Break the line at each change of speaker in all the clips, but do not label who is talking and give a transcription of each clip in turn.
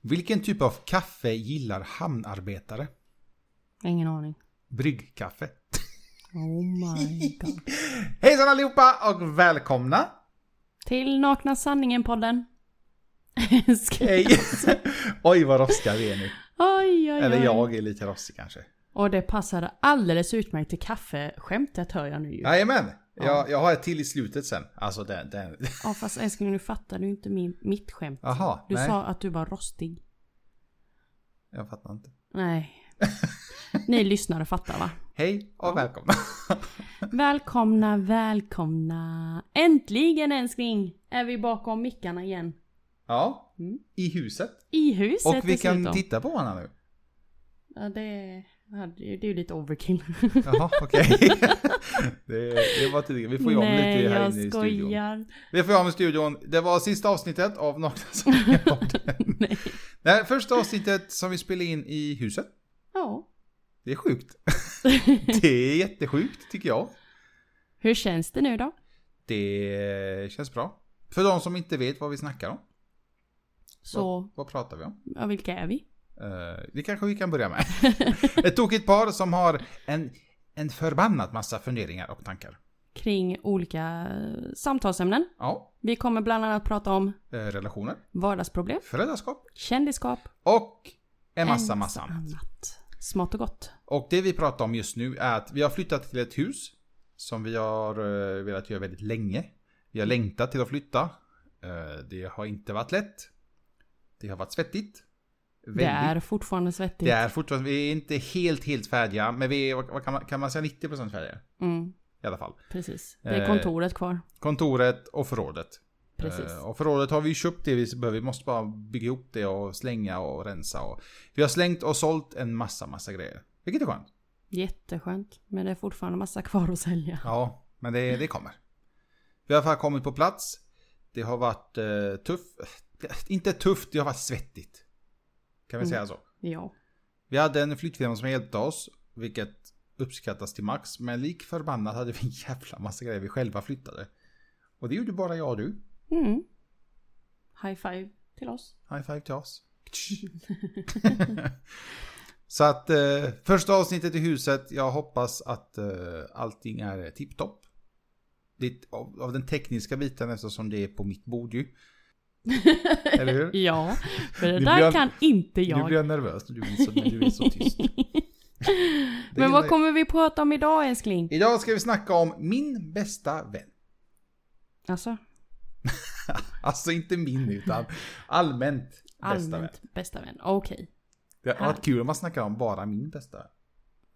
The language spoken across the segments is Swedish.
Vilken typ av kaffe gillar hamnarbetare?
Ingen aning.
Bryggkaffe.
Oh my god.
Hejsan allihopa och välkomna!
Till Nakna Sanningen-podden. Ska-
Hej! Oj vad rostiga vi är nu.
oj, oj,
Eller
oj.
jag är lite rostig kanske.
Och det passade alldeles utmärkt till kaffeskämtet hör jag nu ju.
Jajamän! Jag, jag har ett till i slutet sen. Alltså den... den.
Ja fast älskling nu fattar du inte min, mitt skämt.
Aha,
Du
nej.
sa att du var rostig.
Jag fattar inte.
Nej. Ni lyssnare fattar va?
Hej och välkomna!
Välkomna, välkomna. Äntligen älskling! Är vi bakom mickarna igen.
Ja,
Mm.
i huset.
I huset
Och vi kan
dessutom.
titta på varandra nu.
Ja det, ja, det är ju lite overkill.
Jaha, okej. det, det var tidigare. Vi får ju om
Nej,
lite här
jag
inne i studion.
skojar.
Vi får ju om i studion. Det var sista avsnittet av Nakna Sanningen-podden.
Nej.
Nej, första avsnittet som vi spelade in i huset.
Ja.
Det är sjukt. det är jättesjukt tycker jag.
Hur känns det nu då?
Det känns bra. För de som inte vet vad vi snackar om. Vad,
Så,
vad pratar vi om?
ja, vilka är vi?
Eh, det kanske vi kan börja med. Ett tokigt par som har en, en förbannat massa funderingar och tankar.
Kring olika eh, samtalsämnen.
Ja,
Vi kommer bland annat prata om
eh, relationer,
vardagsproblem,
föräldraskap
kändisskap,
och en massa, massa
ens
annat.
annat. Smått och gott.
Och det vi pratar om just nu är att vi har flyttat till ett hus som vi har eh, velat göra väldigt länge. Vi har längtat till att flytta. Eh, det har inte varit lätt. Det har varit svettigt.
Det
Väldigt.
är fortfarande svettigt.
Det är fortfarande, vi är inte helt, helt färdiga, men vi är, vad- vad kan, man, kan man säga, 90% färdiga
Mm,
i alla fall.
precis. Det är
Eh,
kontoret kvar.
Kontoret och förrådet.
Precis.
Eh, Och förrådet har vi ju köpt det vi behöver, vi måste bara bygga ihop det och slänga och rensa och... Vi har slängt och sålt en massa, massa grejer. Vilket är skönt.
Jätteskönt. Men det är fortfarande massa kvar att sälja.
Ja, men det, det kommer. Vi har i alla fall kommit på plats. Det har varit eh, tufft. Inte tufft, det har varit svettigt. Kan vi
Mm.
säga så.
Ja.
Vi hade en flyttfirma som hjälpte oss, vilket uppskattas till max. Men lik förbannat hade vi en jävla massa grejer vi själva flyttade. Och det gjorde bara jag och du.
Mm. High five till oss.
High five till oss. så att eh, första avsnittet i huset, jag hoppas att eh, allting är tipptopp. Det- Av, av den tekniska biten eftersom det är på mitt bord ju. Eller hur?
Ja, för det
Nu blir
där
jag-
kan inte jag.
Nu blir jag nervös när du är så, när du är så tyst. Det
Men
gillar
vad
jag.
kommer vi prata om idag älskling?
Idag ska vi snacka om min bästa vän.
Alltså,
Alltså inte min utan allmänt bästa vän.
allmänt bästa vän. Okej.
Det har varit kul om man snackar om bara min bästa vän.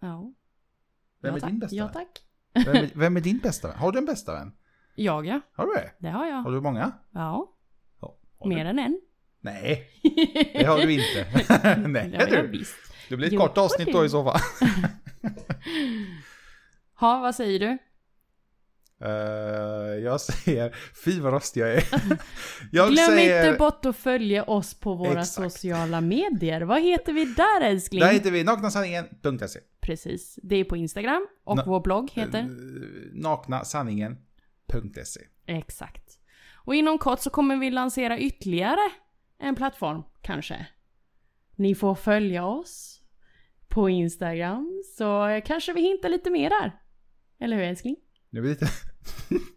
Ja.
Vem
ja,
är
tack.
din bästa
Ja
vän?
tack.
Vem är, vem är din bästa vän? Har du en bästa vän?
Jag ja,
Har du det?
det har
Har
jag.
du många?
Ja,
Ja. Har du?
mer än en.
Nej, det har du inte. Nej,
Ja, ja,
du.
visst.
Det blir ett
Jo,
kort avsnitt då
okej.
i så fall.
Ha, vad säger du?
Eh, jag säger, fy vad rostig jag är. Jag
Glöm
säger,
inte bort att följa oss på våra
Exakt.
sociala medier. Vad heter vi där älskling?
Där heter vi naknasanningen.se.
Precis, det är på Instagram och
Na-
vår blogg heter?
Eh, Naknasanningen.se.
Exakt. Och inom kort så kommer vi lansera ytterligare en plattform, kanske. Ni får följa oss på Instagram, så kanske vi hintar lite mer där. Eller hur älskling?
Nu är det lite...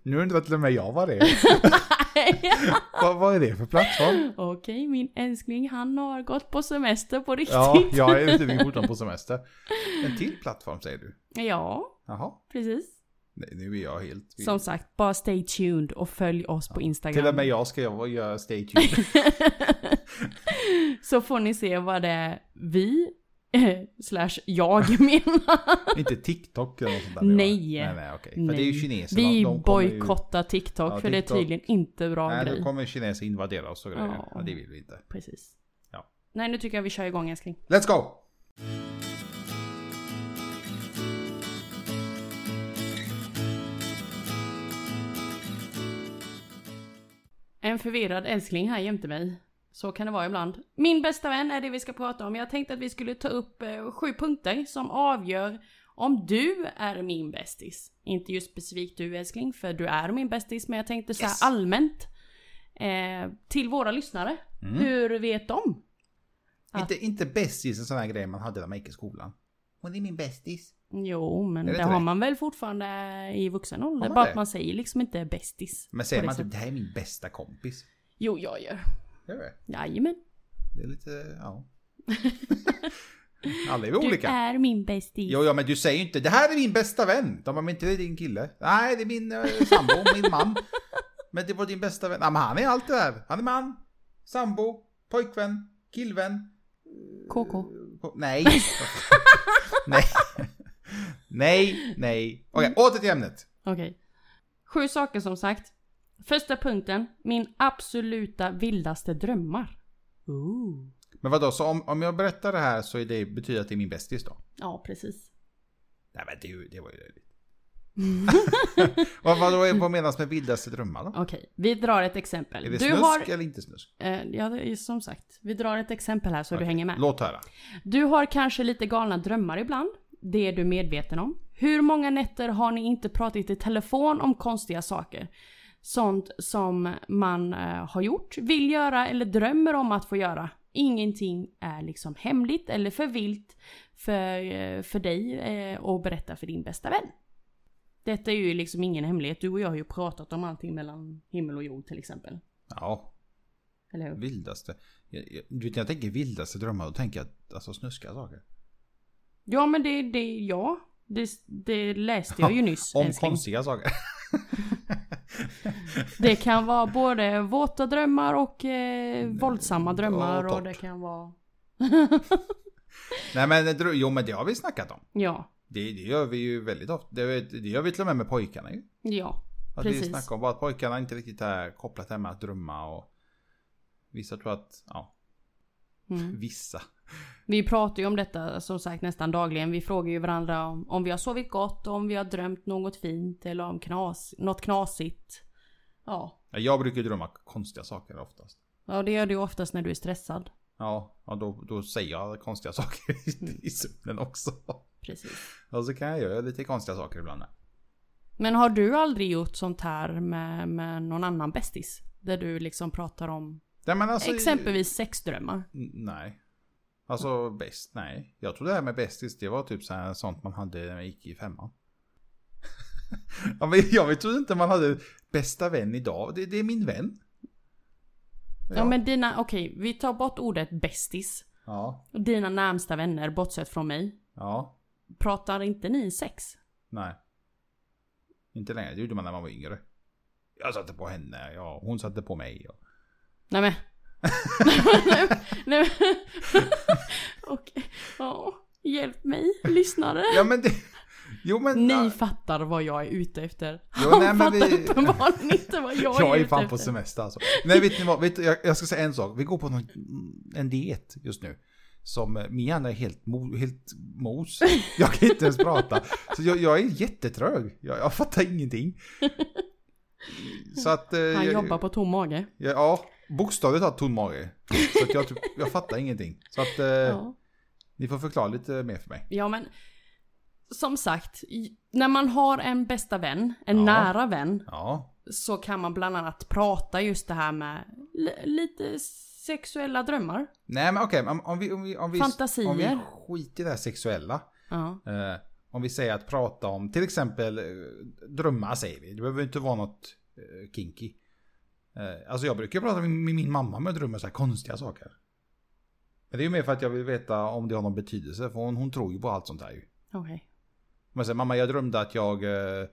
Nu undrar till och med jag vad det är. vad, vad är det för plattform?
Okej, min älskling han har gått på semester på riktigt.
Ja, jag är ute vid skjortan på semester. En till plattform säger du?
Ja,
Jaha.
precis.
Nej, nu är jag helt...
Som sagt, bara stay tuned och följ oss på
Till och med
Instagram.
jag ska göra- göra stay tuned.
Så får ni se vad det är vi, slash jag menar.
inte TikTok eller något sånt där.
Nej.
Nej, nej, okej. För det är ju
Nej.
kineserna.
Vi
de kommer ju-
bojkottar TikTok
Ja,
för det är
TikTok.
tydligen inte bra
Nej,
grej.
då kommer kineser invadera oss och grejer.
Ja.
Ja, det vill vi inte.
Precis.
Ja.
Nej, nu tycker jag vi kör igång älskling.
Let's go!
En förvirrad älskling här jämte mig. Så kan det vara ibland. Min bästa vän är det vi ska prata om. Jag tänkte att vi skulle ta upp eh, sju punkter som avgör om du är min bästis. Inte just specifikt du älskling, för du är min bästis. Men jag tänkte så här
Yes. Mm.
allmänt. Eh, till våra lyssnare. Hur vet de?
Inte, inte bästis, en sån här grej man hade när man gick i skolan. Hon är min bästis.
Jo, men
Är det
det,
inte
har
det?
man väl fortfarande i vuxen ålder.
man
Bara
det?
att man säger liksom inte bästis.
Men säger
på
man
det
typ det här är min bästa kompis.
sättet. Jo, jag gör.
Gör det?
Jajamän.
Det är lite, ja. Alla är vi
Du
olika.
är min bästis.
Jo, ja, men du säger ju inte det här är min bästa vän. De bara, men inte det är din kille. Nej, det är min eh, sambo, min man. Men det var din bästa vän. Nej, men han är allt det där. Han är man, sambo, pojkvän, killvän.
KK.
Nej. nej. nej, nej. Okej,
Mm.
åter till ämnet.
Okej. Sju saker som sagt. Första punkten. Min absoluta vildaste drömmar. Ooh.
Men vadå, så om, om jag berättar det här så är det, betyder det att det är min bästis då?
Ja, precis.
Nej, men det, det var ju löjligt. vad, vadå, är- vad menas med vildaste drömmar då?
Okej, vi drar ett exempel.
Är det
du
snusk
har...
eller inte snusk?
Eh, ja, det är som sagt. Vi drar ett exempel här så du
Okej,
hänger med.
Låt höra.
Du har kanske lite galna drömmar ibland. Det är du medveten om. Hur många nätter har ni inte pratat i telefon om konstiga saker? Sånt som man eh, har gjort, vill göra eller drömmer om att få göra. Ingenting är liksom hemligt eller för vilt för, eh, för dig eh, att berätta för din bästa vän. Detta är ju liksom ingen hemlighet. Du och jag har ju pratat om allting mellan himmel och jord till exempel.
Ja,
Eller hur?
Vildaste. Jag, jag, du vet, när jag tänker vildaste drömmar, då tänker jag alltså snuska saker.
Ja men det, det, ja. Det, det läste jag ju nyss
Om
älskling.
konstiga saker.
Det kan vara både våta drömmar och eh, våldsamma drömmar
topp.
och det kan vara...
Nej men, drö- jo men det har vi snackat om.
Ja.
Det, det gör vi ju väldigt ofta. Det, det gör vi till och med med pojkarna ju.
Ja.
Att vi
Precis.
snackar om bara att pojkarna inte riktigt är kopplat det här med att drömma och vissa tror att, ja,
Mm.
vissa.
Vi pratar ju om detta som sagt nästan dagligen. Vi frågar ju varandra om, om vi har sovit gott, om vi har drömt något fint eller om knas, något knasigt. Ja.
Ja, Jag brukar ju drömma konstiga saker oftast.
Ja det gör du ju oftast när du är stressad.
Ja, ja då, då säger jag konstiga saker
Mm.
i, i sömnen också.
Precis.
Och så kan jag göra lite konstiga saker ibland.
Men har du aldrig gjort sånt här med, med någon annan bästis? Där du liksom pratar om
Nej, men alltså,
exempelvis sexdrömmar?
N- Nej. Alltså bäst, nej. Jag tror det här med bästis, det var typ så här, sånt man hade när man gick i femman. ja, men jag tror inte man hade bästa vän idag. Det, det är min vän.
Ja, men dina, okej vi tar bort ordet bästis.
Ja,
Och Dina närmsta vänner, bortsett från mig,
ja,
pratar inte ni sex?
nej. Inte längre, det gjorde man när man var yngre. Jag satte på henne, ja, hon satte på mig. Och...
Nej men. Nej men. Okej. Ja, hjälp mig, lyssnare.
Ja men det... Jo men...
Ni fattar vad jag är ute efter.
Jo,
Han
nej, men
fattar
vi-
uppenbarligen inte vad jag,
Jag
är
är
ute
fan
efter.
på semester alltså. Nej vet ni vad, vet, jag, jag ska säga en sak. Vi går på någon, en diet just nu. Som eh, min hjärna är helt, mo, helt mos. Jag kan inte ens prata. Så jag, jag är jättetrög. Jag, jag fattar ingenting. Så att... eh,
Han
jag,
jobbar på tom mage.
jag, Ja, bokstavligt talat tom mage. Så att jag, typ, jag fattar ingenting. Så att eh,
Ja.
ni får förklara lite mer för mig.
ja men. Som sagt, i- när man har en bästa vän, en
Ja.
nära vän,
Ja,
så kan man bland annat prata just det här med li- lite sexuella drömmar.
nej men okej. om, om, vi, om, vi, om, vi, om vi
Fantasier.
skiter i det här sexuella.
Ja.
Eh, om vi säger att prata om till exempel eh, drömmar säger vi. Det behöver inte vara något eh, kinky. Eh, alltså jag brukar prata med med min mamma med drömmar så här konstiga saker. Men det är ju mer för att jag vill veta om det har någon betydelse. För hon, hon tror ju på allt sånt här ju.
Okej.
Om jag säger mamma jag drömde att jag eh,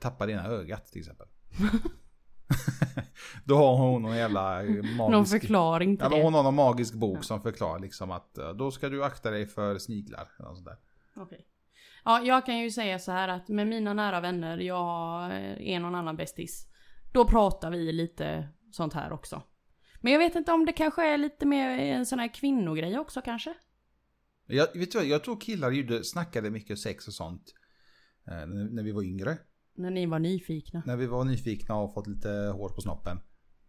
tappade ena ögat till exempel. Då har hon någon jävla eh, magisk...
Någon förklaring till
Ja, men
det?
hon har någon magisk bok som förklarar liksom att eh, då ska du akta dig för sniglar. Eller något sånt där.
Okej. Ja, jag kan ju säga så här att med mina nära vänner, jag har en och annan bästis. Då pratar vi lite sånt här också. Men jag vet inte om det kanske är lite mer en sån här kvinnogrej också kanske?
Jag, vet du, vad, jag tror killar gjorde, snackade mycket sex och sånt eh, när, när vi var yngre.
När ni var nyfikna.
När vi var nyfikna och fått lite hår på snoppen.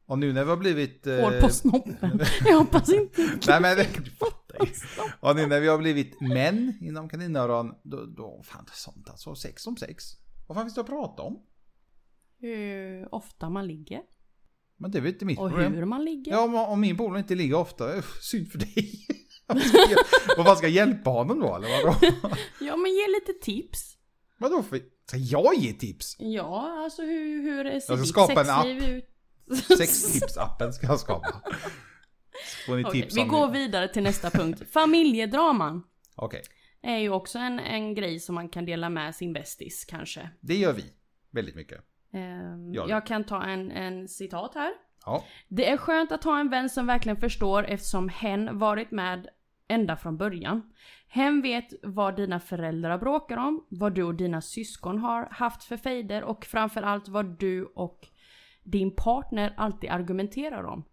Och nu när vi har blivit... eh,
Hår på snoppen. Jag hoppas inte.
Nej men du fattar ju. Och nu när vi har blivit män inom kaninöron, då, då fan det är sånt alltså. Sex om sex. Vad fan finns det att prata om?
Hur ofta man ligger.
Men det är väl inte mitt
Och
problem.
hur man ligger.
Ja, om, om min polare inte ligger ofta, uff, synd för dig. Vad ska jag- Vad fan ska jag hjälpa honom då eller vadå?
Ja men ge lite tips.
Vadå för... Ska jag ge tips?
Ja, alltså hur, hur ser
ska
ditt
skapa en
sexliv ut?
Sextipsappen ska jag skapa. Så får ni
Okej,
tips
vi
om
går
det.
vidare till nästa punkt. Familjedraman
Okej,
är ju också en, en grej som man kan dela med sin bästis kanske.
det gör vi. Väldigt mycket.
Ehm,
Ja.
Jag kan ta en, en citat här.
Ja,
Det är skönt att ha en vän som verkligen förstår eftersom hen varit med ända från början. Hen vet vad dina föräldrar bråkar om, vad du och dina syskon har haft för fejder och framförallt vad du och din partner alltid argumenterar om.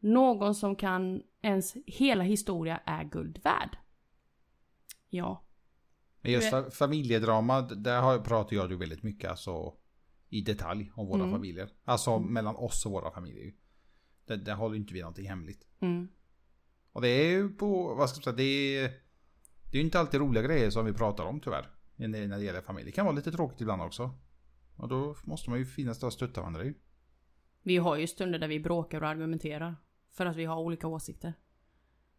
Någon som kan ens hela historia är guld värd. Ja.
men just
Hur
fa- familjedrama, d- där har- pratar jag och du väldigt mycket alltså i detalj om
Mm.
våra familjer. Alltså mellan oss och våra familjer. Där, där håller ju inte vi någonting hemligt.
Mm.
Och det är ju på, vad ska jag säga, det är, det är ju inte alltid roliga grejer som vi pratar om tyvärr. När det- när det gäller familj. Det kan vara lite tråkigt ibland också. Och då måste man ju finnas där och stötta varandra ju.
Vi har ju stunder där vi bråkar och argumenterar. För att vi har olika åsikter.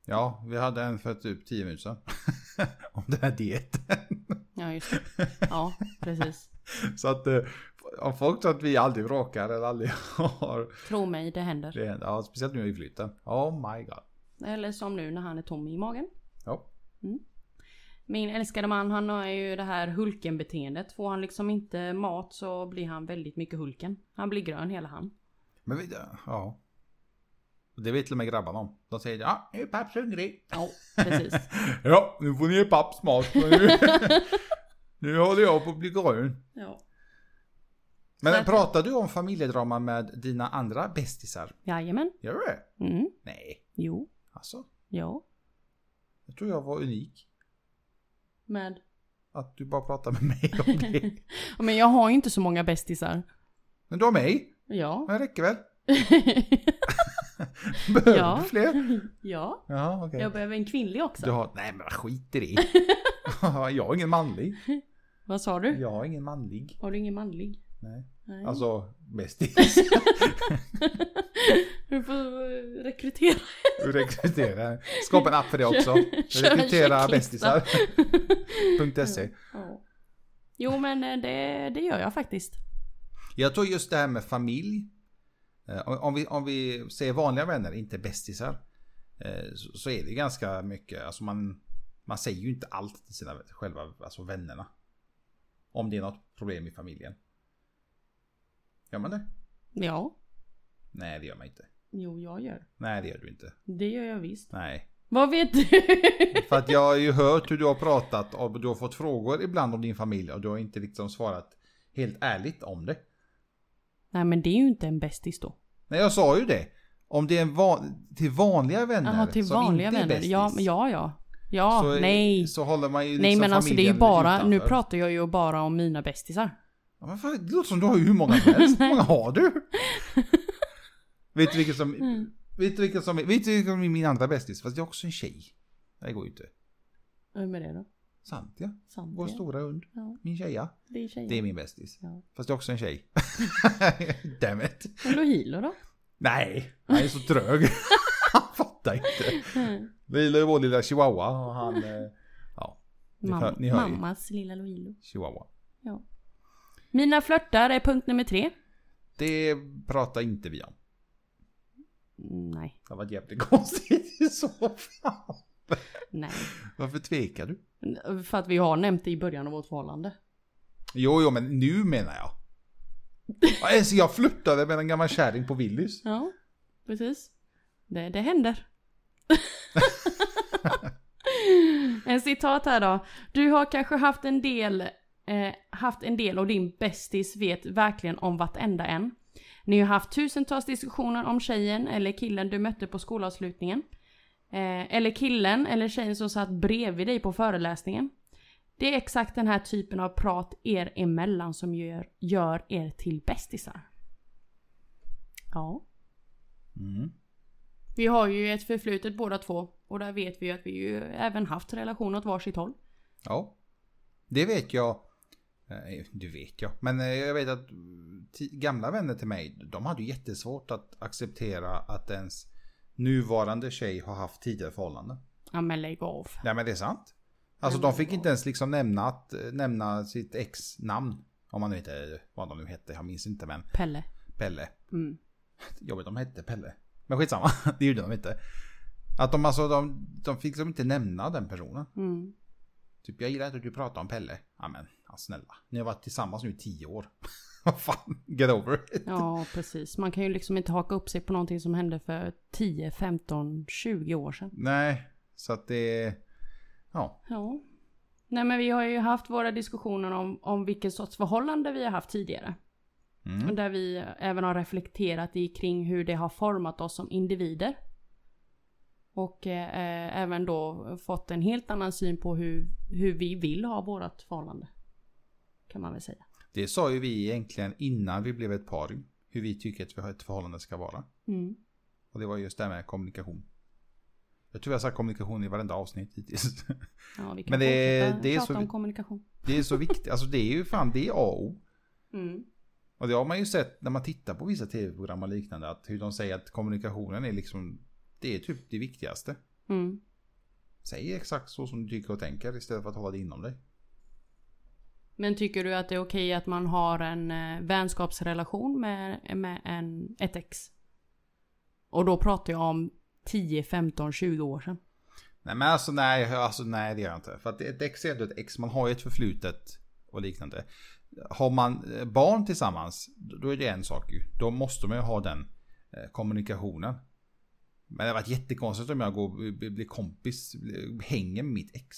Ja, vi hade en för typ 10 minuter sedan. om den här dieten.
Ja, just det. Ja, precis.
Så att eh, om folk tror att vi aldrig bråkar eller aldrig har...
Tro mig, det händer.
Det, händer. ja, speciellt nu i flytten. Oh my god.
Eller som nu när han är tom i magen. Mm.
Ja.
Min älskade man han har ju det här Hulken-beteendet. Får han liksom inte mat så blir han väldigt mycket Hulken. Han blir grön hela han.
Men vi, ja. Och Det vet till och med grabbarna om. De säger ja, nu är papps hungrig.
Ja, precis.
Ja, nu får ni ge papps mat. nu håller jag på att bli grön.
Ja.
Men pratar du om familjedrama med dina andra bästisar?
Jajamän.
Gör du det?
Mm.
Nej,
Jo.
alltså.
Ja.
Jag tror jag var unik.
Med.
Att du bara pratar med mig om det.
Men jag har ju inte så många bästisar.
Men du har mig.
Ja.
Det räcker väl? Behöver
Ja.
du fler?
ja.
Ja, okej.
Jag behöver en kvinnlig också.
Du har... Nej, men skit i det. jag har ingen manlig.
Vad sa du?
Jag har ingen manlig.
Har du ingen manlig?
Nej.
Nej.
Alltså, bästis.
Du får eh, rekrytera.
Rekrytera. Skapa en app för det också.
Kör en
Rekrytera
checklista.
bästisar.se.
Ja. Jo men eh, det, det gör jag faktiskt.
Jag tror just det här med familj. eh, om- Om vi, om vi säger vanliga vänner, inte bästisar. eh, Så, så är det ganska mycket, alltså man, man säger ju inte allt till sina själva alltså vännerna. Om det är något problem i familjen. Gör man det?
Ja.
Nej, det gör man inte.
Jo jag gör.
Nej, det gör du inte.
Det gör jag visst.
Nej.
Vad vet du?
För att jag har ju hört hur du har pratat och du har fått frågor ibland om din familj och du har inte liksom svarat helt ärligt om det.
Nej men det är ju inte en bästis då.
Nej, jag sa ju det. Om det är en van, till vanliga vänner
Jaha till
som
vanliga
inte är
vänner.
bästis.
Ja, men ja ja. Ja,
så,
nej.
Så håller man ju liksom
nej men alltså det är
familjen
ju bara, nu
utanför.
pratar jag ju bara om mina bästisar.
Ja, men fan, det låter som du har ju hur många som helst. Hur många har du? vet du vilken som...
Mm.
Vet du vilken som, vet du vilken som är min andra bästis? Fast jag är också en tjej. Det går ju inte.
Vem är det då?
Santja, vår
Sandra?
stora hund.
Ja.
Min tjeja.
Det är tjejer.
Det är min bästis.
Ja.
Fast jag är också en tjej. Damn it.
Och Lohilo då?
Nej, han är så trög. han fattar inte. Vi gillar ju vår lilla chihuahua och han... eh, Ja, Ni hör-
Mam-
ni hör ju.
mammas lilla Lohilo.
chihuahua.
Ja. Mina flörtar är punkt nummer tre.
Det pratar inte vi om.
Mm, Nej.
Det var jävligt konstigt i så fall.
Nej.
Varför tvekar du?
För att vi har nämnt det i början av vårt förhållande.
Jo, jo, men nu menar jag. Ja, Alltså, jag flyttade med en gammal kärring på Willys.
Ja, precis. Det, det händer. en citat här då. Du har kanske haft en del, eh, haft en del och din bästis vet verkligen om vartenda en. Ni har haft tusentals diskussioner om tjejen eller killen du mötte på skolavslutningen. Eh, eller killen eller tjejen som satt bredvid dig på föreläsningen. Det är exakt den här typen av prat er emellan som gör, gör er till bästisar. Ja.
Mm.
Vi har ju ett förflutet båda två och där vet vi ju att vi ju även haft relation åt varsitt håll.
Ja, det vet jag. Eh, Det vet jag. Men eh, jag vet att mm, ti- gamla vänner till mig, de hade ju jättesvårt att acceptera att ens nuvarande tjej har haft tidigare förhållanden.
Ja men lägg av.
Nej men det är sant. Alltså de fick inte ens liksom nämna, att, nämna sitt ex-namn. Om man nu inte, vad de nu hette, jag minns inte men.
Pelle.
Pelle.
Mm.
Jobbigt de hette Pelle. Men skitsamma, det gjorde de inte. Att de alltså, de, de fick liksom inte nämna den personen.
Mm.
Typ jag gillar inte att du pratar om Pelle. Ja men, ja, snälla. Ni har varit tillsammans nu i tio år. Vad fan, get over it.
Ja precis. Man kan ju liksom inte haka upp sig på någonting som hände för 10, 15, 20 år sedan.
Nej, så att det... Ja,
Ja. Nej men vi har ju haft våra diskussioner om, om vilken sorts förhållande vi har haft tidigare.
Mm.
Och Där vi även har reflekterat i kring hur det har format oss som individer. Och eh, eh, även då fått en helt annan syn på hur, hur vi vill ha vårat förhållande. Kan man väl säga.
det sa ju vi egentligen innan vi blev ett par. Hur vi tycker att vi har ett förhållande ska vara.
Mm.
Och det var just det här med kommunikation. Jag tror jag har sagt kommunikation i varenda avsnitt hittills.
Ja, vi kan
Men det-
fortsätta
det är
prata
så
om
vi-
kommunikation.
Det är så viktigt, alltså det är ju fan det är A och O.
Mm.
Och det har man ju sett när man tittar på vissa tv-program och liknande att hur de säger att kommunikationen är liksom det är typ det viktigaste.
Mm.
Säg exakt så som du tycker och tänker istället för att hålla det inom dig.
Men tycker du att det är okej att man har en eh, vänskapsrelation med, med en, ett ex? Och då pratar jag om 10, 15, 20 år sedan.
Nej men alltså nej, alltså nej det gör jag inte. För att ett ex är ändå ett ex, man har ju ett förflutet och liknande. Har man eh, barn tillsammans, då är det en sak ju. Då måste man ju ha den eh, kommunikationen. Men det hade varit jättekonstigt om jag går och blir blir kompis, blir- hänger med mitt ex.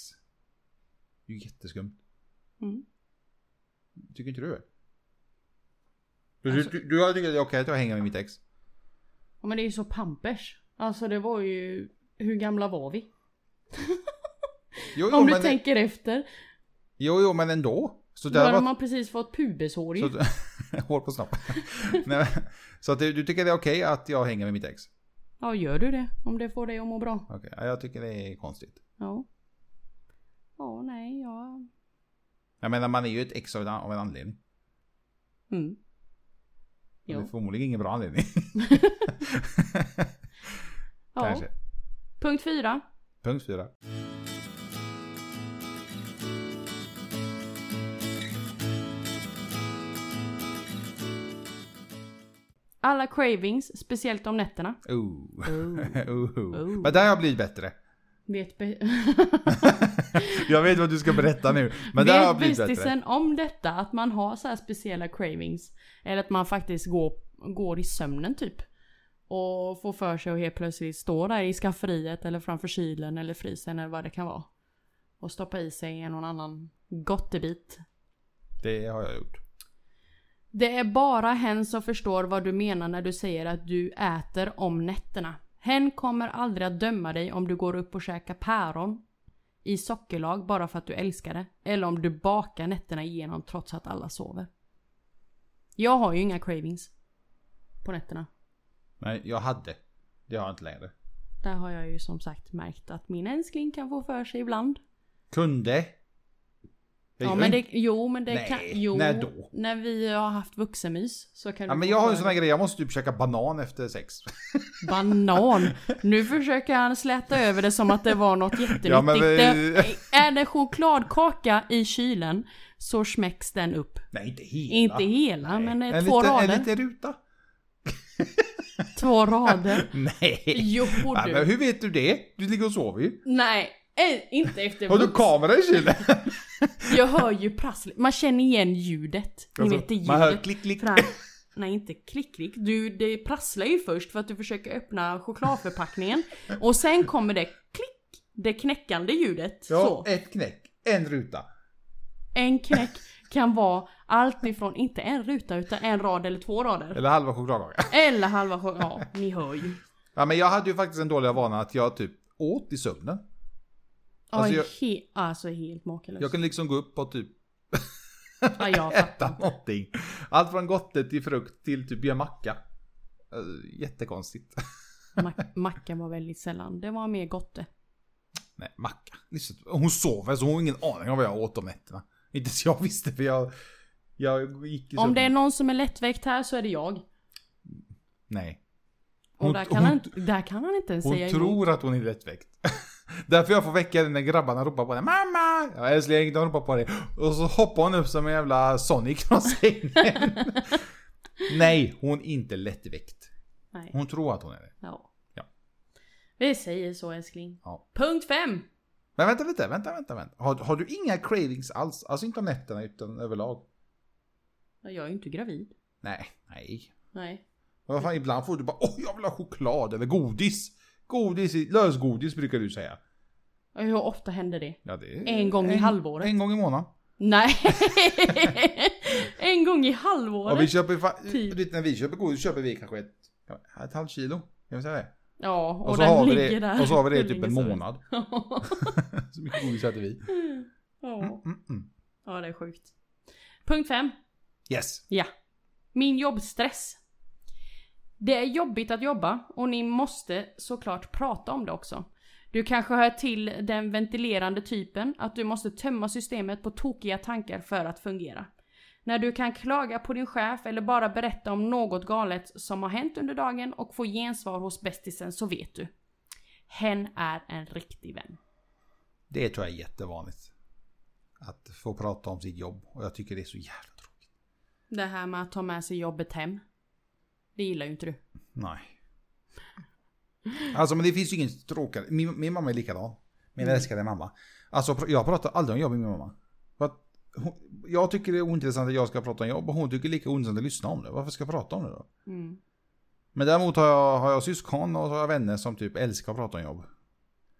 Det är ju jätteskumt.
Mm.
Tycker inte du Alltså- det? Du, du, du har tyckt att det är okej att jag hänger med mitt ex?
Ja, men det är ju så pampers. Alltså det var ju... Hur gamla var vi?
Jo, jo,
Om du
men,
tänker efter.
jo, jo, men ändå. Så
Då
det hade
hade
varit
man precis fått pubeshår
Så
ju.
att, hår på snoppen. Nej, men- så att du, du tycker det är okej att jag hänger med mitt ex?
Ja, gör du det? Om det får dig att må bra.
Okej, ja, jag tycker det är konstigt.
Ja. Ja, nej, ja.
Jag menar man är ju ett ex av en, av en anledning.
Mm.
Och Det är
Jo.
förmodligen ingen bra anledning.
Ja.
Kanske.
Punkt fyra.
Punkt fyra.
Alla cravings, speciellt om nätterna.
Ooh.
Oh.
Ooh.
Ooh.
Men där har jag blivit bättre.
Vet, be-
jag vet vad du ska berätta nu. Men där har jag
vet
blivit bättre.
bästisen om detta? Att man har så här speciella cravings? Eller att man faktiskt går, går i sömnen typ? Och får för sig att helt plötsligt stå där i skafferiet eller framför kylen eller frysen eller vad det kan vara. Och stoppa i sig en någon annan gottebit.
Det har jag gjort.
Det är bara hen som förstår vad du menar när du säger att du äter om nätterna. Hen kommer aldrig att döma dig om du går upp och käkar päron i sockerlag bara för att du älskar det. Eller om du bakar nätterna igenom trots att alla sover. Jag har ju inga cravings. På nätterna.
Nej, jag hade. Det har jag inte längre.
Där har jag ju som sagt märkt att min älskling kan få för sig ibland.
Kunde. Det
Ja
gör
men
inte-
det, jo men det
Nej,
kan... Jo,
när då?
När vi har haft vuxenmys så kan du
ja, men
få
jag har
för
ju sån här grej, jag måste typ käka banan efter sex.
Banan. Nu försöker han släta över det som att det var något jättenyttigt.
Ja, men vi-
det, är det chokladkaka i kylen så smäcks den upp.
Nej, inte hela.
Inte hela,
Nej.
men eh,
en
två
liten,
rader.
En liten ruta.
Två rader.
Nej.
Jo
Ja, men
du.
hur vet du det? Du ligger och sover ju.
Nej, eh, inte efter
Har du
vux.
kamera i kylen?
Jag hör ju prasslet. Man känner igen ljudet. Ni vet det ljudet.
Alltså, Man hör klick, klick.
Fram- Nej inte klick klick. Du, det prasslar ju först för att du försöker öppna chokladförpackningen. Och sen kommer det klick. Det knäckande ljudet. så.
Ja, ett knäck. En ruta.
En knäck kan vara allt ifrån, inte en ruta utan en rad eller två rader.
Eller halva chokladkaka.
Eller halva sjö- ja ni hör ju.
Ja, men jag hade ju faktiskt en dålig vana att jag typ åt i sömnen. Alltså,
Alltså,
jag-
he- alltså helt makalöst.
Jag kunde liksom gå upp och typ
ja, jag fattar.
äta någonting. Allt från gotte till frukt till typ göra macka. Eh, Jättekonstigt.
Mac- mackan var väldigt sällan, det var mer gotte.
Liksom- Nej, macka. Lyssna, Hon sover så hon har ingen aning om vad jag åt om nätterna. Inte ens jag visste för jag... Jag gick i
Om
sömnen.
det är någon som är lättväckt här så är det jag.
Nej.
Och
Hon-
där, kan
hon-
han, där kan han inte ens
Hon
säga emot.
tror att hon är lättväckt. Därför jag får väcka den när grabbarna ropar på den. Mamma! Ja, älskling, de ropar på dig. Och så hoppar hon upp som en jävla Sonic från sängen. Nej, hon är inte lättväckt.
Nej.
Hon tror att hon är det.
Ja.
Ja.
Vi säger så älskling.
Ja.
Punkt 5.
Men vänta lite, vänta, vänta, vänta. Har, har du inga cravings alls? Alltså inte om nätterna utan överlag?
Jag är ju inte gravid.
Nej, nej.
Nej.
Vad fan, ibland får du bara åh, jag vill ha choklad eller godis. Godis, i- lösgodis brukar du säga.
Och Hur ofta händer det?
Ja, det är,
En gång i halvåret.
En gång i månaden.
Nej! en gång i halvåret.
Och vi köper, fa-
Typ.
du vet, när vi köper godis köper vi kanske ett, ett halvt kilo. Kan vi säga det?
Ja, och,
Och, så,
den
har vi
ligger
det,
där.
och så har vi det i
hur
typ
länge
en
som helst.
månad. så mycket godis äter vi.
ja.
Mm, mm, mm.
ja, det är sjukt. Punkt 5.
Yes.
Ja. Min jobbstress. Det är jobbigt att jobba och ni måste såklart prata om det också. Du kanske hör till den ventilerande typen, att du måste tömma systemet på tokiga tankar för att fungera. När du kan klaga på din chef eller bara berätta om något galet som har hänt under dagen och få gensvar hos bästisen så vet du. Hen är en riktig vän.
Det tror jag är jättevanligt. Att få prata om sitt jobb. Och jag tycker det är så jävla tråkigt.
Det här med att ta med sig jobbet hem. Det gillar ju inte du.
Nej. Alltså men det finns ju ingen tråkigare. Min, min mamma är likadan. Min älskade mamma. Alltså pr- jag pratar aldrig om jobb med min mamma. För att hon, jag tycker det är ointressant att jag ska prata om jobb och hon tycker lika ointressant att lyssna om det. Varför ska jag prata om det då?
Mm.
Men däremot har jag, har jag syskon och så har jag vänner som typ älskar att prata om jobb.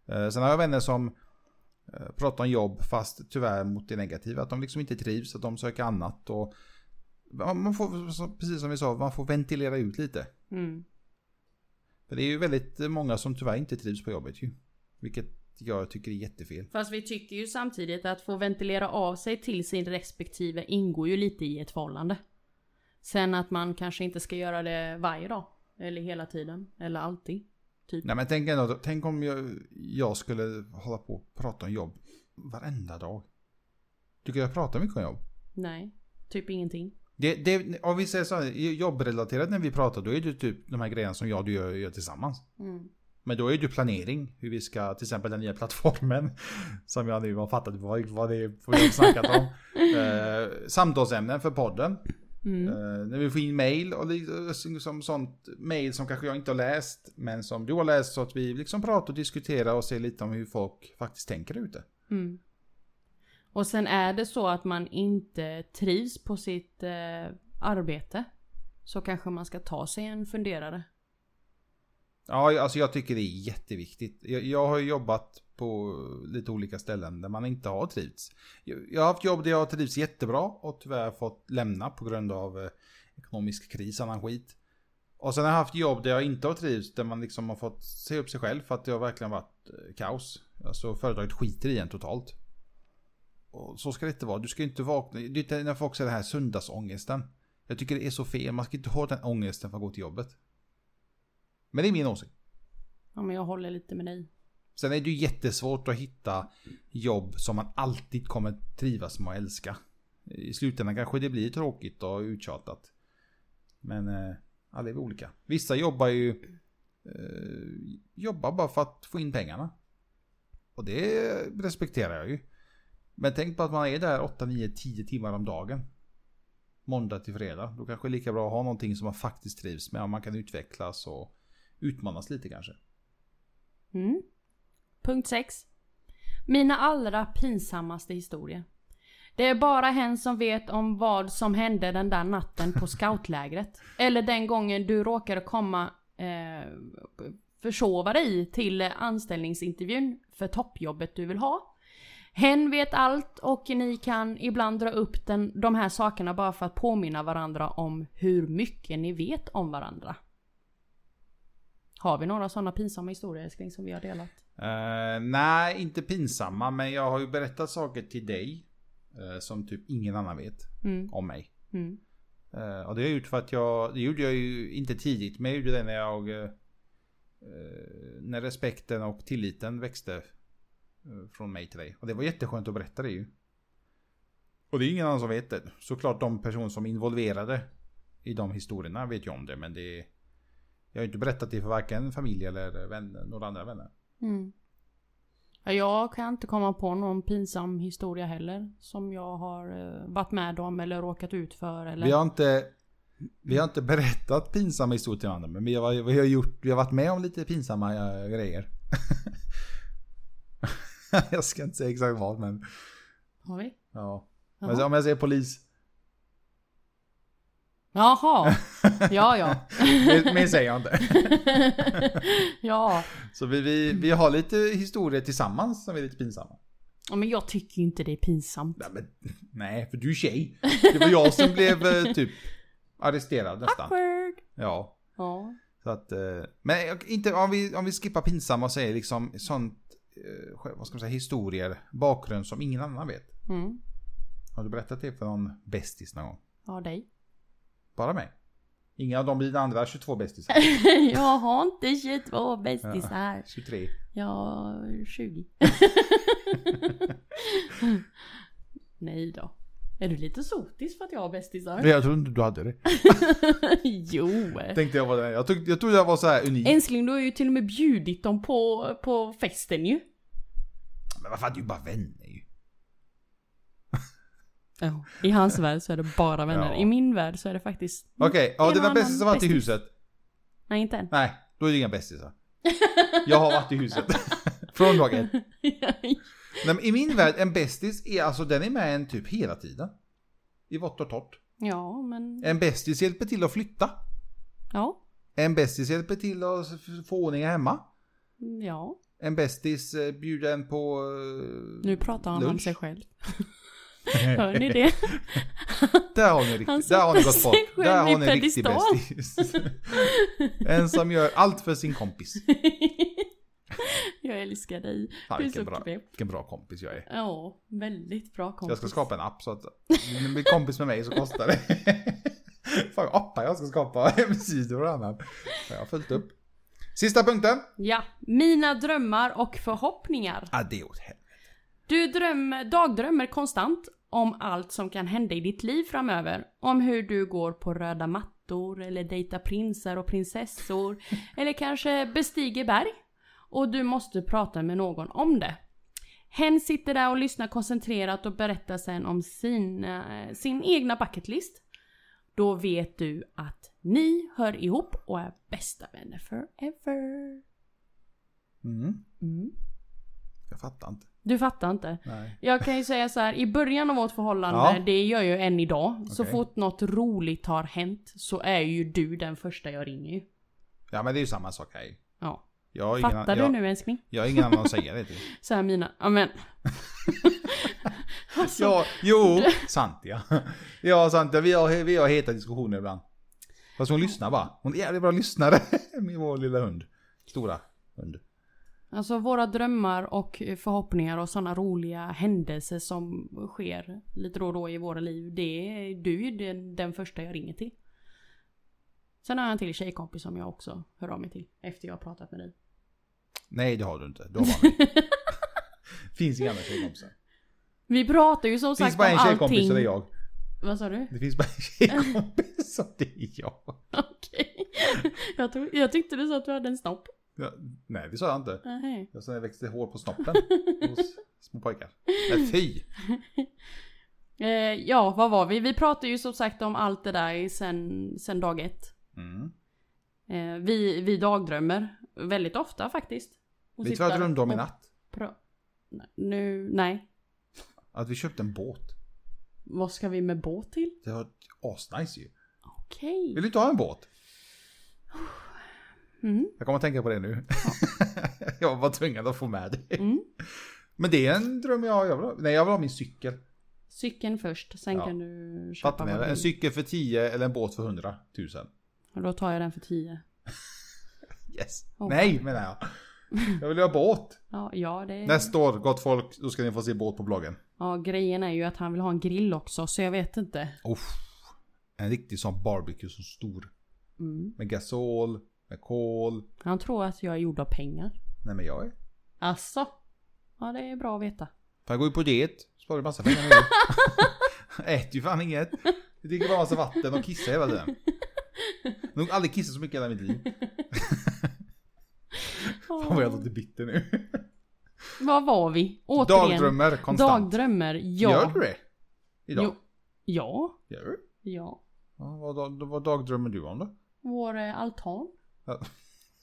Eh, sen har jag vänner som eh, pratar om jobb fast tyvärr mot det negativa. Att de liksom inte trivs, att de söker annat och Ja, man får, så- precis som vi sa, man får ventilera ut lite.
Mm.
För det är ju väldigt många som tyvärr inte trivs på jobbet ju. Vilket jag tycker är jättefel.
Fast vi tycker ju samtidigt att få ventilera av sig till sin respektive ingår ju lite i ett förhållande. Sen att man kanske inte ska göra det varje dag. Eller hela tiden. Eller alltid. Typ.
Nej men tänk ändå, tänk om jag, jag skulle hålla på och prata om jobb varenda dag. Tycker jag pratar mycket om jobb?
Nej. Typ ingenting.
Det, det, om vi säger så här, jobbrelaterat när vi pratar då är det typ de här grejerna som jag och du gör, gör tillsammans. Men då är det ju planering, hur vi ska, till exempel den nya plattformen som jag nu har fattat vad, vad det är vad vi har snackat om. eh, samtalsämnen för podden.
Mm.
Eh, när vi får in mail och liksom, som sånt mail som kanske jag inte har läst men som du har läst så att vi liksom pratar och diskuterar och ser lite om hur folk faktiskt tänker ute.
Mm. Och sen är det så att man inte trivs på sitt eh, arbete. Så kanske man ska ta sig en funderare.
Ja, alltså jag tycker det är jätteviktigt. Jag, jag har ju jobbat på lite olika ställen där man inte har trivts. Jag, jag har haft jobb där jag har trivts jättebra och tyvärr fått lämna på grund av eh, ekonomisk kris och annan skit. Och sen har jag haft jobb där jag inte har trivts, där man liksom har fått se upp sig själv för att det har verkligen varit eh, kaos. Alltså företaget skiter i en totalt. Och så ska det inte vara. Du ska ju inte vakna. Det är inte när folk säger den här söndagsångesten. Jag tycker det är så fel. Man ska inte ha den ångesten för att gå till jobbet. Men det är min åsikt.
Ja men jag håller lite med dig.
Sen är det ju jättesvårt att hitta jobb som man alltid kommer trivas med och älska. I slutändan kanske det blir tråkigt och uttjatat. Men eh, alla är vi olika. Vissa jobbar ju... Eh, jobbar bara för att få in pengarna. Och det respekterar jag ju. Men tänk på att man är där 8, 9, 10 timmar om dagen. Måndag till fredag. Då kanske det är lika bra att ha någonting som man faktiskt trivs med. Och man kan utvecklas och utmanas lite kanske.
Mm. Punkt 6. Mina allra pinsammaste historier. Det är bara hen som vet om vad som hände den där natten på scoutlägret. Eller den gången du råkade komma eh, försova dig till anställningsintervjun för toppjobbet du vill ha. Hen vet allt och ni kan ibland dra upp den, de här sakerna bara för att påminna varandra om hur mycket ni vet om varandra. Har vi några sådana pinsamma historier älskling som vi har delat?
Eh, nej, inte pinsamma, men jag har ju berättat saker till dig eh, som typ ingen annan vet
Mm,
om mig.
mm,
Eh, och det har jag gjort för att jag, det gjorde jag ju inte tidigt, men jag gjorde det när jag, eh, eh, när respekten och tilliten växte eh, från mig till dig. Och det var jätteskönt att berätta det ju. Och det är ingen annan som vet det. Såklart de personer som är involverade i de historierna vet ju om det, men det, jag har ju inte berättat det för varken familj eller vänner, några andra vänner.
mm. Ja, jag kan inte komma på någon pinsam historia heller. Som jag har eh, varit med om eller råkat ut för. Eller...
Vi har inte, vi har inte berättat pinsamma historier till varandra, men vi har, vi, har gjort, vi har varit med om lite pinsamma eh, grejer. jag ska inte säga exakt vad, men
Har vi?
ja.
Jaha.
Men så om jag säger polis.
Jaha. Ja, ja.
mer, mer säger jag inte.
ja.
Så vi, vi, vi har lite historier tillsammans som är lite pinsamma.
Ja, Men jag tycker ju inte det är pinsamt.
Nej, men, nej för du är tjej. Det var jag som blev eh, typ arresterad nästan.
Awkward.
Ja.
Ja.
Så att, eh, men jag- inte, om, vi, om vi skippar pinsamma och säger liksom sånt, eh, själv- vad ska man säga, historier, bakgrund som ingen annan vet.
Mm.
Har du berättat det för någon bästis någon gång?
Ja, dig.
Bara mig? Inga av de blir andra 22 bästisar.
jag har inte 22 bästisar.
23.
Jag har 20. Nej då. Är du lite sotis för att jag har bästisar?
Nej, jag trodde inte du hade det.
jo.
Tänkte jag var det. Jag, tyckte, jag trodde jag var så här unik.
Älskling, du har ju till och med bjudit dem på, på festen ju.
Men vad fan, du är ju bara vänner ju.
Ja. I hans värld så är det bara vänner.
Ja.
I min värld så är det faktiskt...
Okej, ja
En
det var
annan
bästisar som varit i
bästis.
huset.
Nej, inte än.
Nej, då är det inga bästisar. Jag har varit i huset. Från dag ett. Nej, men I min värld, en bästis är alltså, den är med en typ hela tiden. I vått och torrt.
ja, men...
En bästis hjälper till att flytta.
Ja.
En bästis hjälper till att f- få ordning hemma.
Ja.
En bästis eh, bjuder en på... eh,
Nu pratar han om
lunch.
sig själv. Hör ni det?
Där har ni,
Han
riktigt, där har ni
sätter
gått
sig
bort.
själv
Där
i
har ni en riktig
pedestal.
bästis. en som gör allt för sin kompis.
jag älskar dig.
Fan,
Du är
vilken,
så
bra,
knäpp.
vilken bra kompis jag är.
Ja, väldigt bra kompis.
Jag ska skapa en app så att om du blir kompis med mig så kostar det. Fan vad appar jag ska skapa, hemsidor och annat. Jag har fullt upp. Sista punkten.
Ja, mina drömmar och förhoppningar.
Ja, det är åt helvete.
Du drömmer, dagdrömmer konstant om allt som kan hända i ditt liv framöver. Om hur du går på röda mattor eller dejtar prinsar och prinsessor. eller kanske bestiger berg. Och du måste prata med någon om det. Hen sitter där och lyssnar koncentrerat och berättar sen om sina, eh, sin egna bucketlist. Då vet du att ni hör ihop och är bästa vänner forever.
Mm.
Mm.
Jag fattar inte.
Du fattar inte?
Nej.
Jag kan ju säga så här, i början av vårt förhållande,
Ja.
det gör jag ju än idag. Så
Okej.
fort något roligt har hänt så är ju du den första jag ringer ju.
Ja, men det är ju samma sak här.
Ja.
Jag har ingen,
Fattar du
jag,
nu älskling?
Jag har ingen annan att säga det till.
Så här mina, ja men. alltså,
Ja, jo, sant ja. Ja, sant ja. Vi har, vi har heta diskussioner ibland. Fast hon lyssnar bara. Hon är jävligt bra lyssnare. Med vår lilla hund. Stora hund.
alltså våra drömmar och förhoppningar och sådana roliga händelser som sker lite då och då i våra liv. Det är du är ju den, den första jag ringer till. Sen har jag en till tjejkompis som jag också hör av mig till efter jag har pratat med dig.
Nej, det har du inte. Du har bara mig. Finns inga andra tjejkompisar.
Vi pratar ju som
Det finns
sagt
bara
om
en tjejkompis
allting.
och det är jag.
Vad sa du?
Det finns bara en tjejkompis och det är jag.
Okej. Jag, tror- jag tyckte du sa att du hade en snopp.
Ja, nej, det sa jag inte.
Nej.
Jag sa att jag växte hår på snoppen hos små pojkar. Nej, fy!
Eh, ja, vad var vi? Vi pratade ju som sagt om allt det där sen, sen dag ett.
Mm.
Eh, vi, vi dagdrömmer väldigt ofta faktiskt. Och
Vet du vad jag
sitter
drömde om i
och
natt?
pra- Nej, Nu, nej.
Att vi köpte en båt.
Vad ska vi med båt till?
Det var asnice ju.
Okej.
Vill du inte ha en båt?
Mm.
Jag kommer att tänka på det nu. jag var tvungen att få med det.
Mm.
Men det är en dröm jag har. Jag vill ha. Nej, jag vill ha min cykel.
Cykeln först, sen
Ja.
kan du köpa
Fattar ni?
vad du
En
vill.
cykel för 10 eller en båt för 100 000.
Och Då tar jag den för 10.
Yes.
Åh.
Nej, menar jag. Jag vill ha båt.
Ja, ja, det är...
Nästa år, gott folk, då ska ni få se båt på bloggen.
Ja, grejen är ju att han vill ha en grill också, så jag vet inte.
Uff. En riktig sån barbecue som stor.
Mm.
Med gasol, med kol.
Han tror att jag är gjord av pengar.
Nej men jag är.
Alltså. Ja, det är bra att veta.
Fan jag går ju på diet. Sparar ju massa pengar nu. Äter ju fan inget. Jag dricker bara massa vatten och kissar hela tiden. Nog aldrig kissat så mycket i hela mitt liv. Fan vad jag låter bitter nu.
Vad var vi? Återigen.
Dagdrömmar konstant.
Dagdrömmmer. Ja.
Gör du det? Idag?
Jo. Ja.
Gör du?
Ja.
Ja, vad, dag- vad dagdrömmer du om då?
Vår eh, altan.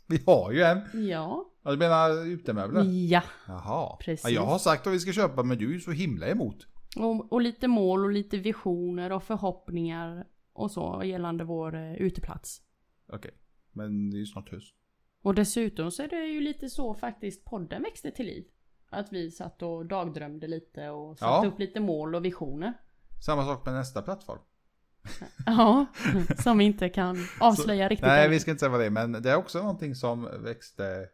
Vi har ju en.
Ja.
Ja, Du menar utemöbler?
Ja.
Jaha.
Precis.
Ja, jag har sagt vad vi ska köpa men du är ju så himla emot.
Och, och lite mål och lite visioner och förhoppningar och så gällande vår eh, uteplats.
Okej. Men det är ju snart höst.
Och dessutom så är det ju lite så faktiskt podden växte till liv. Att vi satt och dagdrömde lite och satte
Ja.
upp lite mål och visioner.
Samma sak med nästa plattform.
Ja, som vi inte kan avslöja riktigt.
Nej,
än.
vi ska inte säga vad det är, men det är också någonting som växte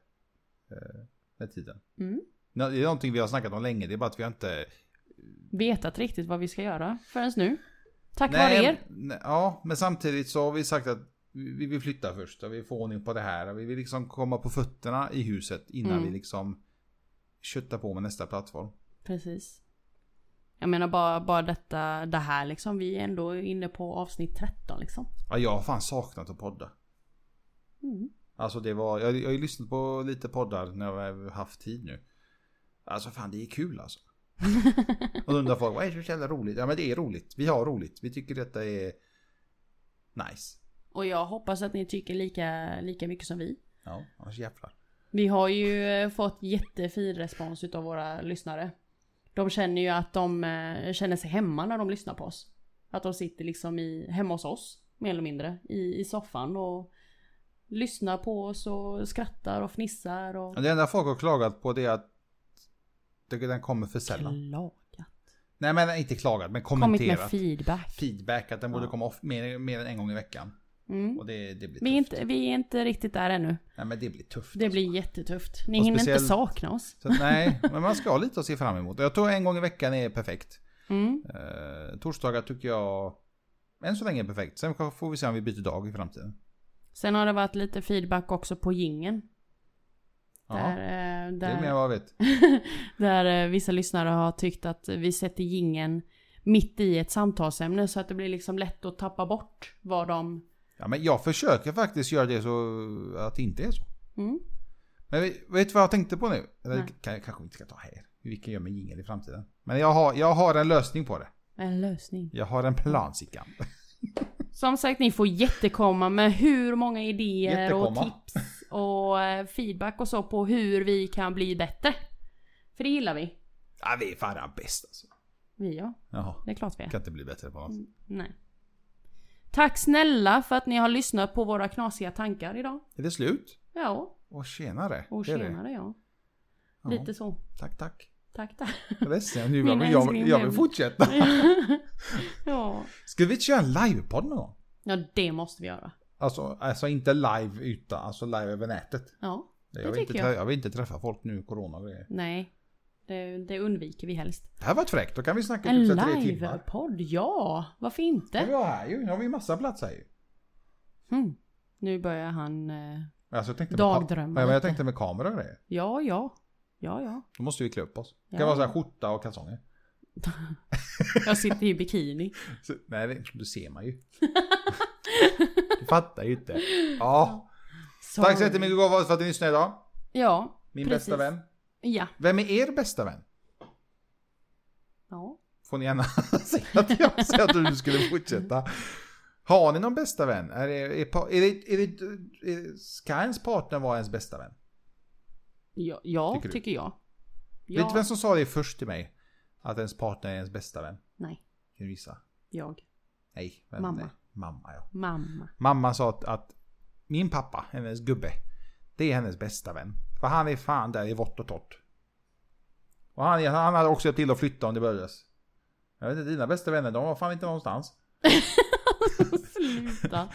eh, med tiden.
Mm.
Nå- Det är någonting vi har snackat om länge, det är bara att vi har inte...
Vetat riktigt vad vi ska göra förrän nu. Tack vare er.
nej, ja, men samtidigt så har vi sagt att vi vill flytta först och vi får ordning på det här och vi vill liksom komma på fötterna i huset innan
Mm.
vi liksom köttar på med nästa plattform.
Precis. Jag menar bara, bara detta, det här liksom. Vi är ändå inne på avsnitt 13 liksom.
Ja, jag har fan saknat att podda.
Mm.
Alltså det var, jag, jag har ju lyssnat på lite poddar när jag har haft tid nu. Alltså fan det är kul alltså. Och undrar folk, vad är det så jävla roligt? Ja men det är roligt, vi har roligt, vi tycker detta är nice.
Och jag hoppas att ni tycker lika, lika mycket som vi.
Ja, annars jävlar.
Vi har ju eh, fått jättefin respons utav våra lyssnare. De känner ju att de eh, känner sig hemma när de lyssnar på oss. Att de sitter liksom i, hemma hos oss, mer eller mindre, i, i soffan och lyssnar på oss och skrattar och fnissar och
Och Det enda folk har klagat på det är att det- den kommer för sällan.
klagat.
Nej men inte klagat, men
Kommit
kommenterat.
med feedback.
feedback att den borde
Ja.
komma off, mer, mer än en gång i veckan.
Mm.
Och det, det blir tufft.
Vi, är inte, vi är inte riktigt där ännu.
Nej men det blir tufft. alltså.
Det blir jättetufft. Ni
Och
hinner inte
speciellt-
sakna oss.
Så att, nej, men man ska ha lite att se fram emot. Jag tror en gång i veckan är perfekt.
Mm.
Eh, torsdagar tycker jag än så länge är perfekt. Sen kan- får vi se om vi byter dag i framtiden.
Sen har det varit lite feedback också på gingen.
Ja,
Där, eh,
det är
där,
mer vad jag vet.
där eh, vissa lyssnare har tyckt att vi sätter gingen mitt i ett samtalsämne så att det blir liksom lätt att tappa bort vad de...
Ja, men jag försöker faktiskt göra det så att det inte är så.
Mm.
Men vi- vet du vad jag tänkte på nu? Eller
Nej.
kan, kanske vi inte ska ta här. Vi kan göra med jingel i framtiden. Men jag har, jag har en lösning på det.
En lösning.
Jag har en plan Sickan.
Som sagt, ni får jättekomma med hur många idéer och
Jättekomma.
tips och eh, feedback och så på hur vi kan bli bättre. För det gillar vi.
Ja, vi är fan bäst alltså.
Vi ja,
Jaha,
det är klart vi är.
kan inte bli bättre på något.
Nej. Tack snälla för att ni har lyssnat på våra knasiga tankar idag.
Är det slut?
Ja,
Och tjenare.
och
Det är det.
tjenare ja.
Ja,
Lite så.
Tack, tack.
Tack tack.
Jag är ledsen, nu,
Min
jag, vill- jag,
älskling
jag vill
hem.
fortsätta.
ja.
Ska vi inte köra en livepodd någon gång?
ja, det måste vi göra.
Alltså, alltså inte live utan alltså live över nätet.
Ja,
Jag vill,
tycker
inte,
jag.
jag. jag vill inte träffa folk nu, corona och grejer.
nej. Det, det undviker vi helst.
Det här var ett fräckt, då kan vi snacka
En
typ så här tre timmar.
livepodd, ja. Varför
Ja, vi
inte?
har här ju, nu har vi massa plats här ju.
Hmm. Nu börjar han... eh,
Alltså, jag tänkte
Dagdrömmar
Med, ja, men jag
lite.
tänkte med kamera och grejer.
Ja, ja. Ja, ja.
Då måste vi klä upp oss. Det
Ja.
kan vara så här skjorta och kalsonger.
Jag sitter i bikini.
Så, nej, det, du ser man ju. du fattar ju inte. Ja. Tack så
Sorry.
jättemycket gåva för att ni lyssnade idag.
Ja.
Min
precis.
bästa vän.
Ja.
Vem är er bästa vän?
ja.
Får ni gärna säga att jag säger att du skulle fortsätta. Har ni någon bästa vän? Är det, är, pa- är det, är det, är det, ska ens partner vara ens bästa vän?
Ja, ja
Tycker
tycker,
du?
jag.
Vet du
Ja.
vem som sa det först till mig? Att ens partner är ens bästa vän?
Nej,
Kan du gissa?
jag.
Nej. vem-
Mamma.
nej. Mamma, ja.
Mamma.
Mamma sa att, att min pappa, hennes gubbe, det är hennes bästa vän. För han är fan där i vått och torrt. Och han, han hade också hjälpt till att flytta om det behövdes. Jag vet inte, dina bästa vänner, de var fan inte någonstans.
Sluta.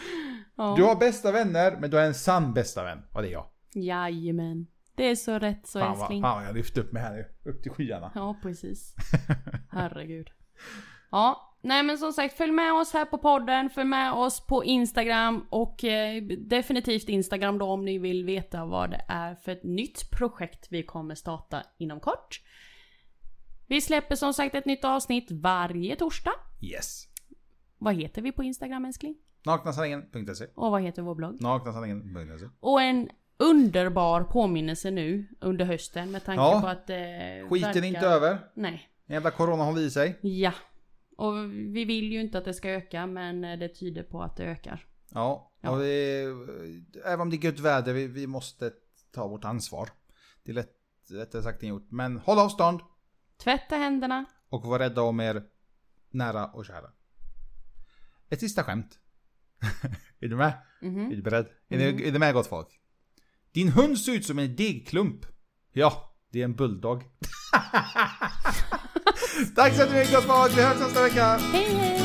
Ja.
Du har bästa vänner, men du har en sann bästa vän. Och det är jag.
Jajamän. Det är så rätt så
Fan vad, fan
älskling.
vad jag lyfte upp mig här nu. Upp till skyarna.
Ja, precis. Herregud. Ja, nej men som sagt följ med oss här på podden, följ med oss på Instagram och eh, definitivt Instagram då om ni vill veta vad det är för ett nytt projekt vi kommer starta inom kort. Vi släpper som sagt ett nytt avsnitt varje torsdag.
Yes.
Vad heter vi på Instagram älskling?
Naknasanningen.se
Och vad heter vår blogg?
Naknasanningen.se
Och en underbar påminnelse nu under hösten med tanke
Ja.
på att... Eh,
Skiten
verkar-
är inte över.
Nej.
Jävla corona håller i sig.
Ja. Och vi vill ju inte att det ska öka men eh, det tyder på att det ökar.
Ja,
Ja.
Och vi, även om det är gött väder, vi, vi måste ta vårt ansvar. Det är lätt, lättare sagt än gjort. Men håll avstånd
Tvätta händerna.
och var rädda om er nära och kära. Ett sista skämt. är du med? Är
Mhm.
du beredd? Är, du, är du med gott folk? Din hund ser ut som en degklump. Ja, det är en bulldog. Tack så mycket gott folk, vi hörs nästa vecka.
Hej hej!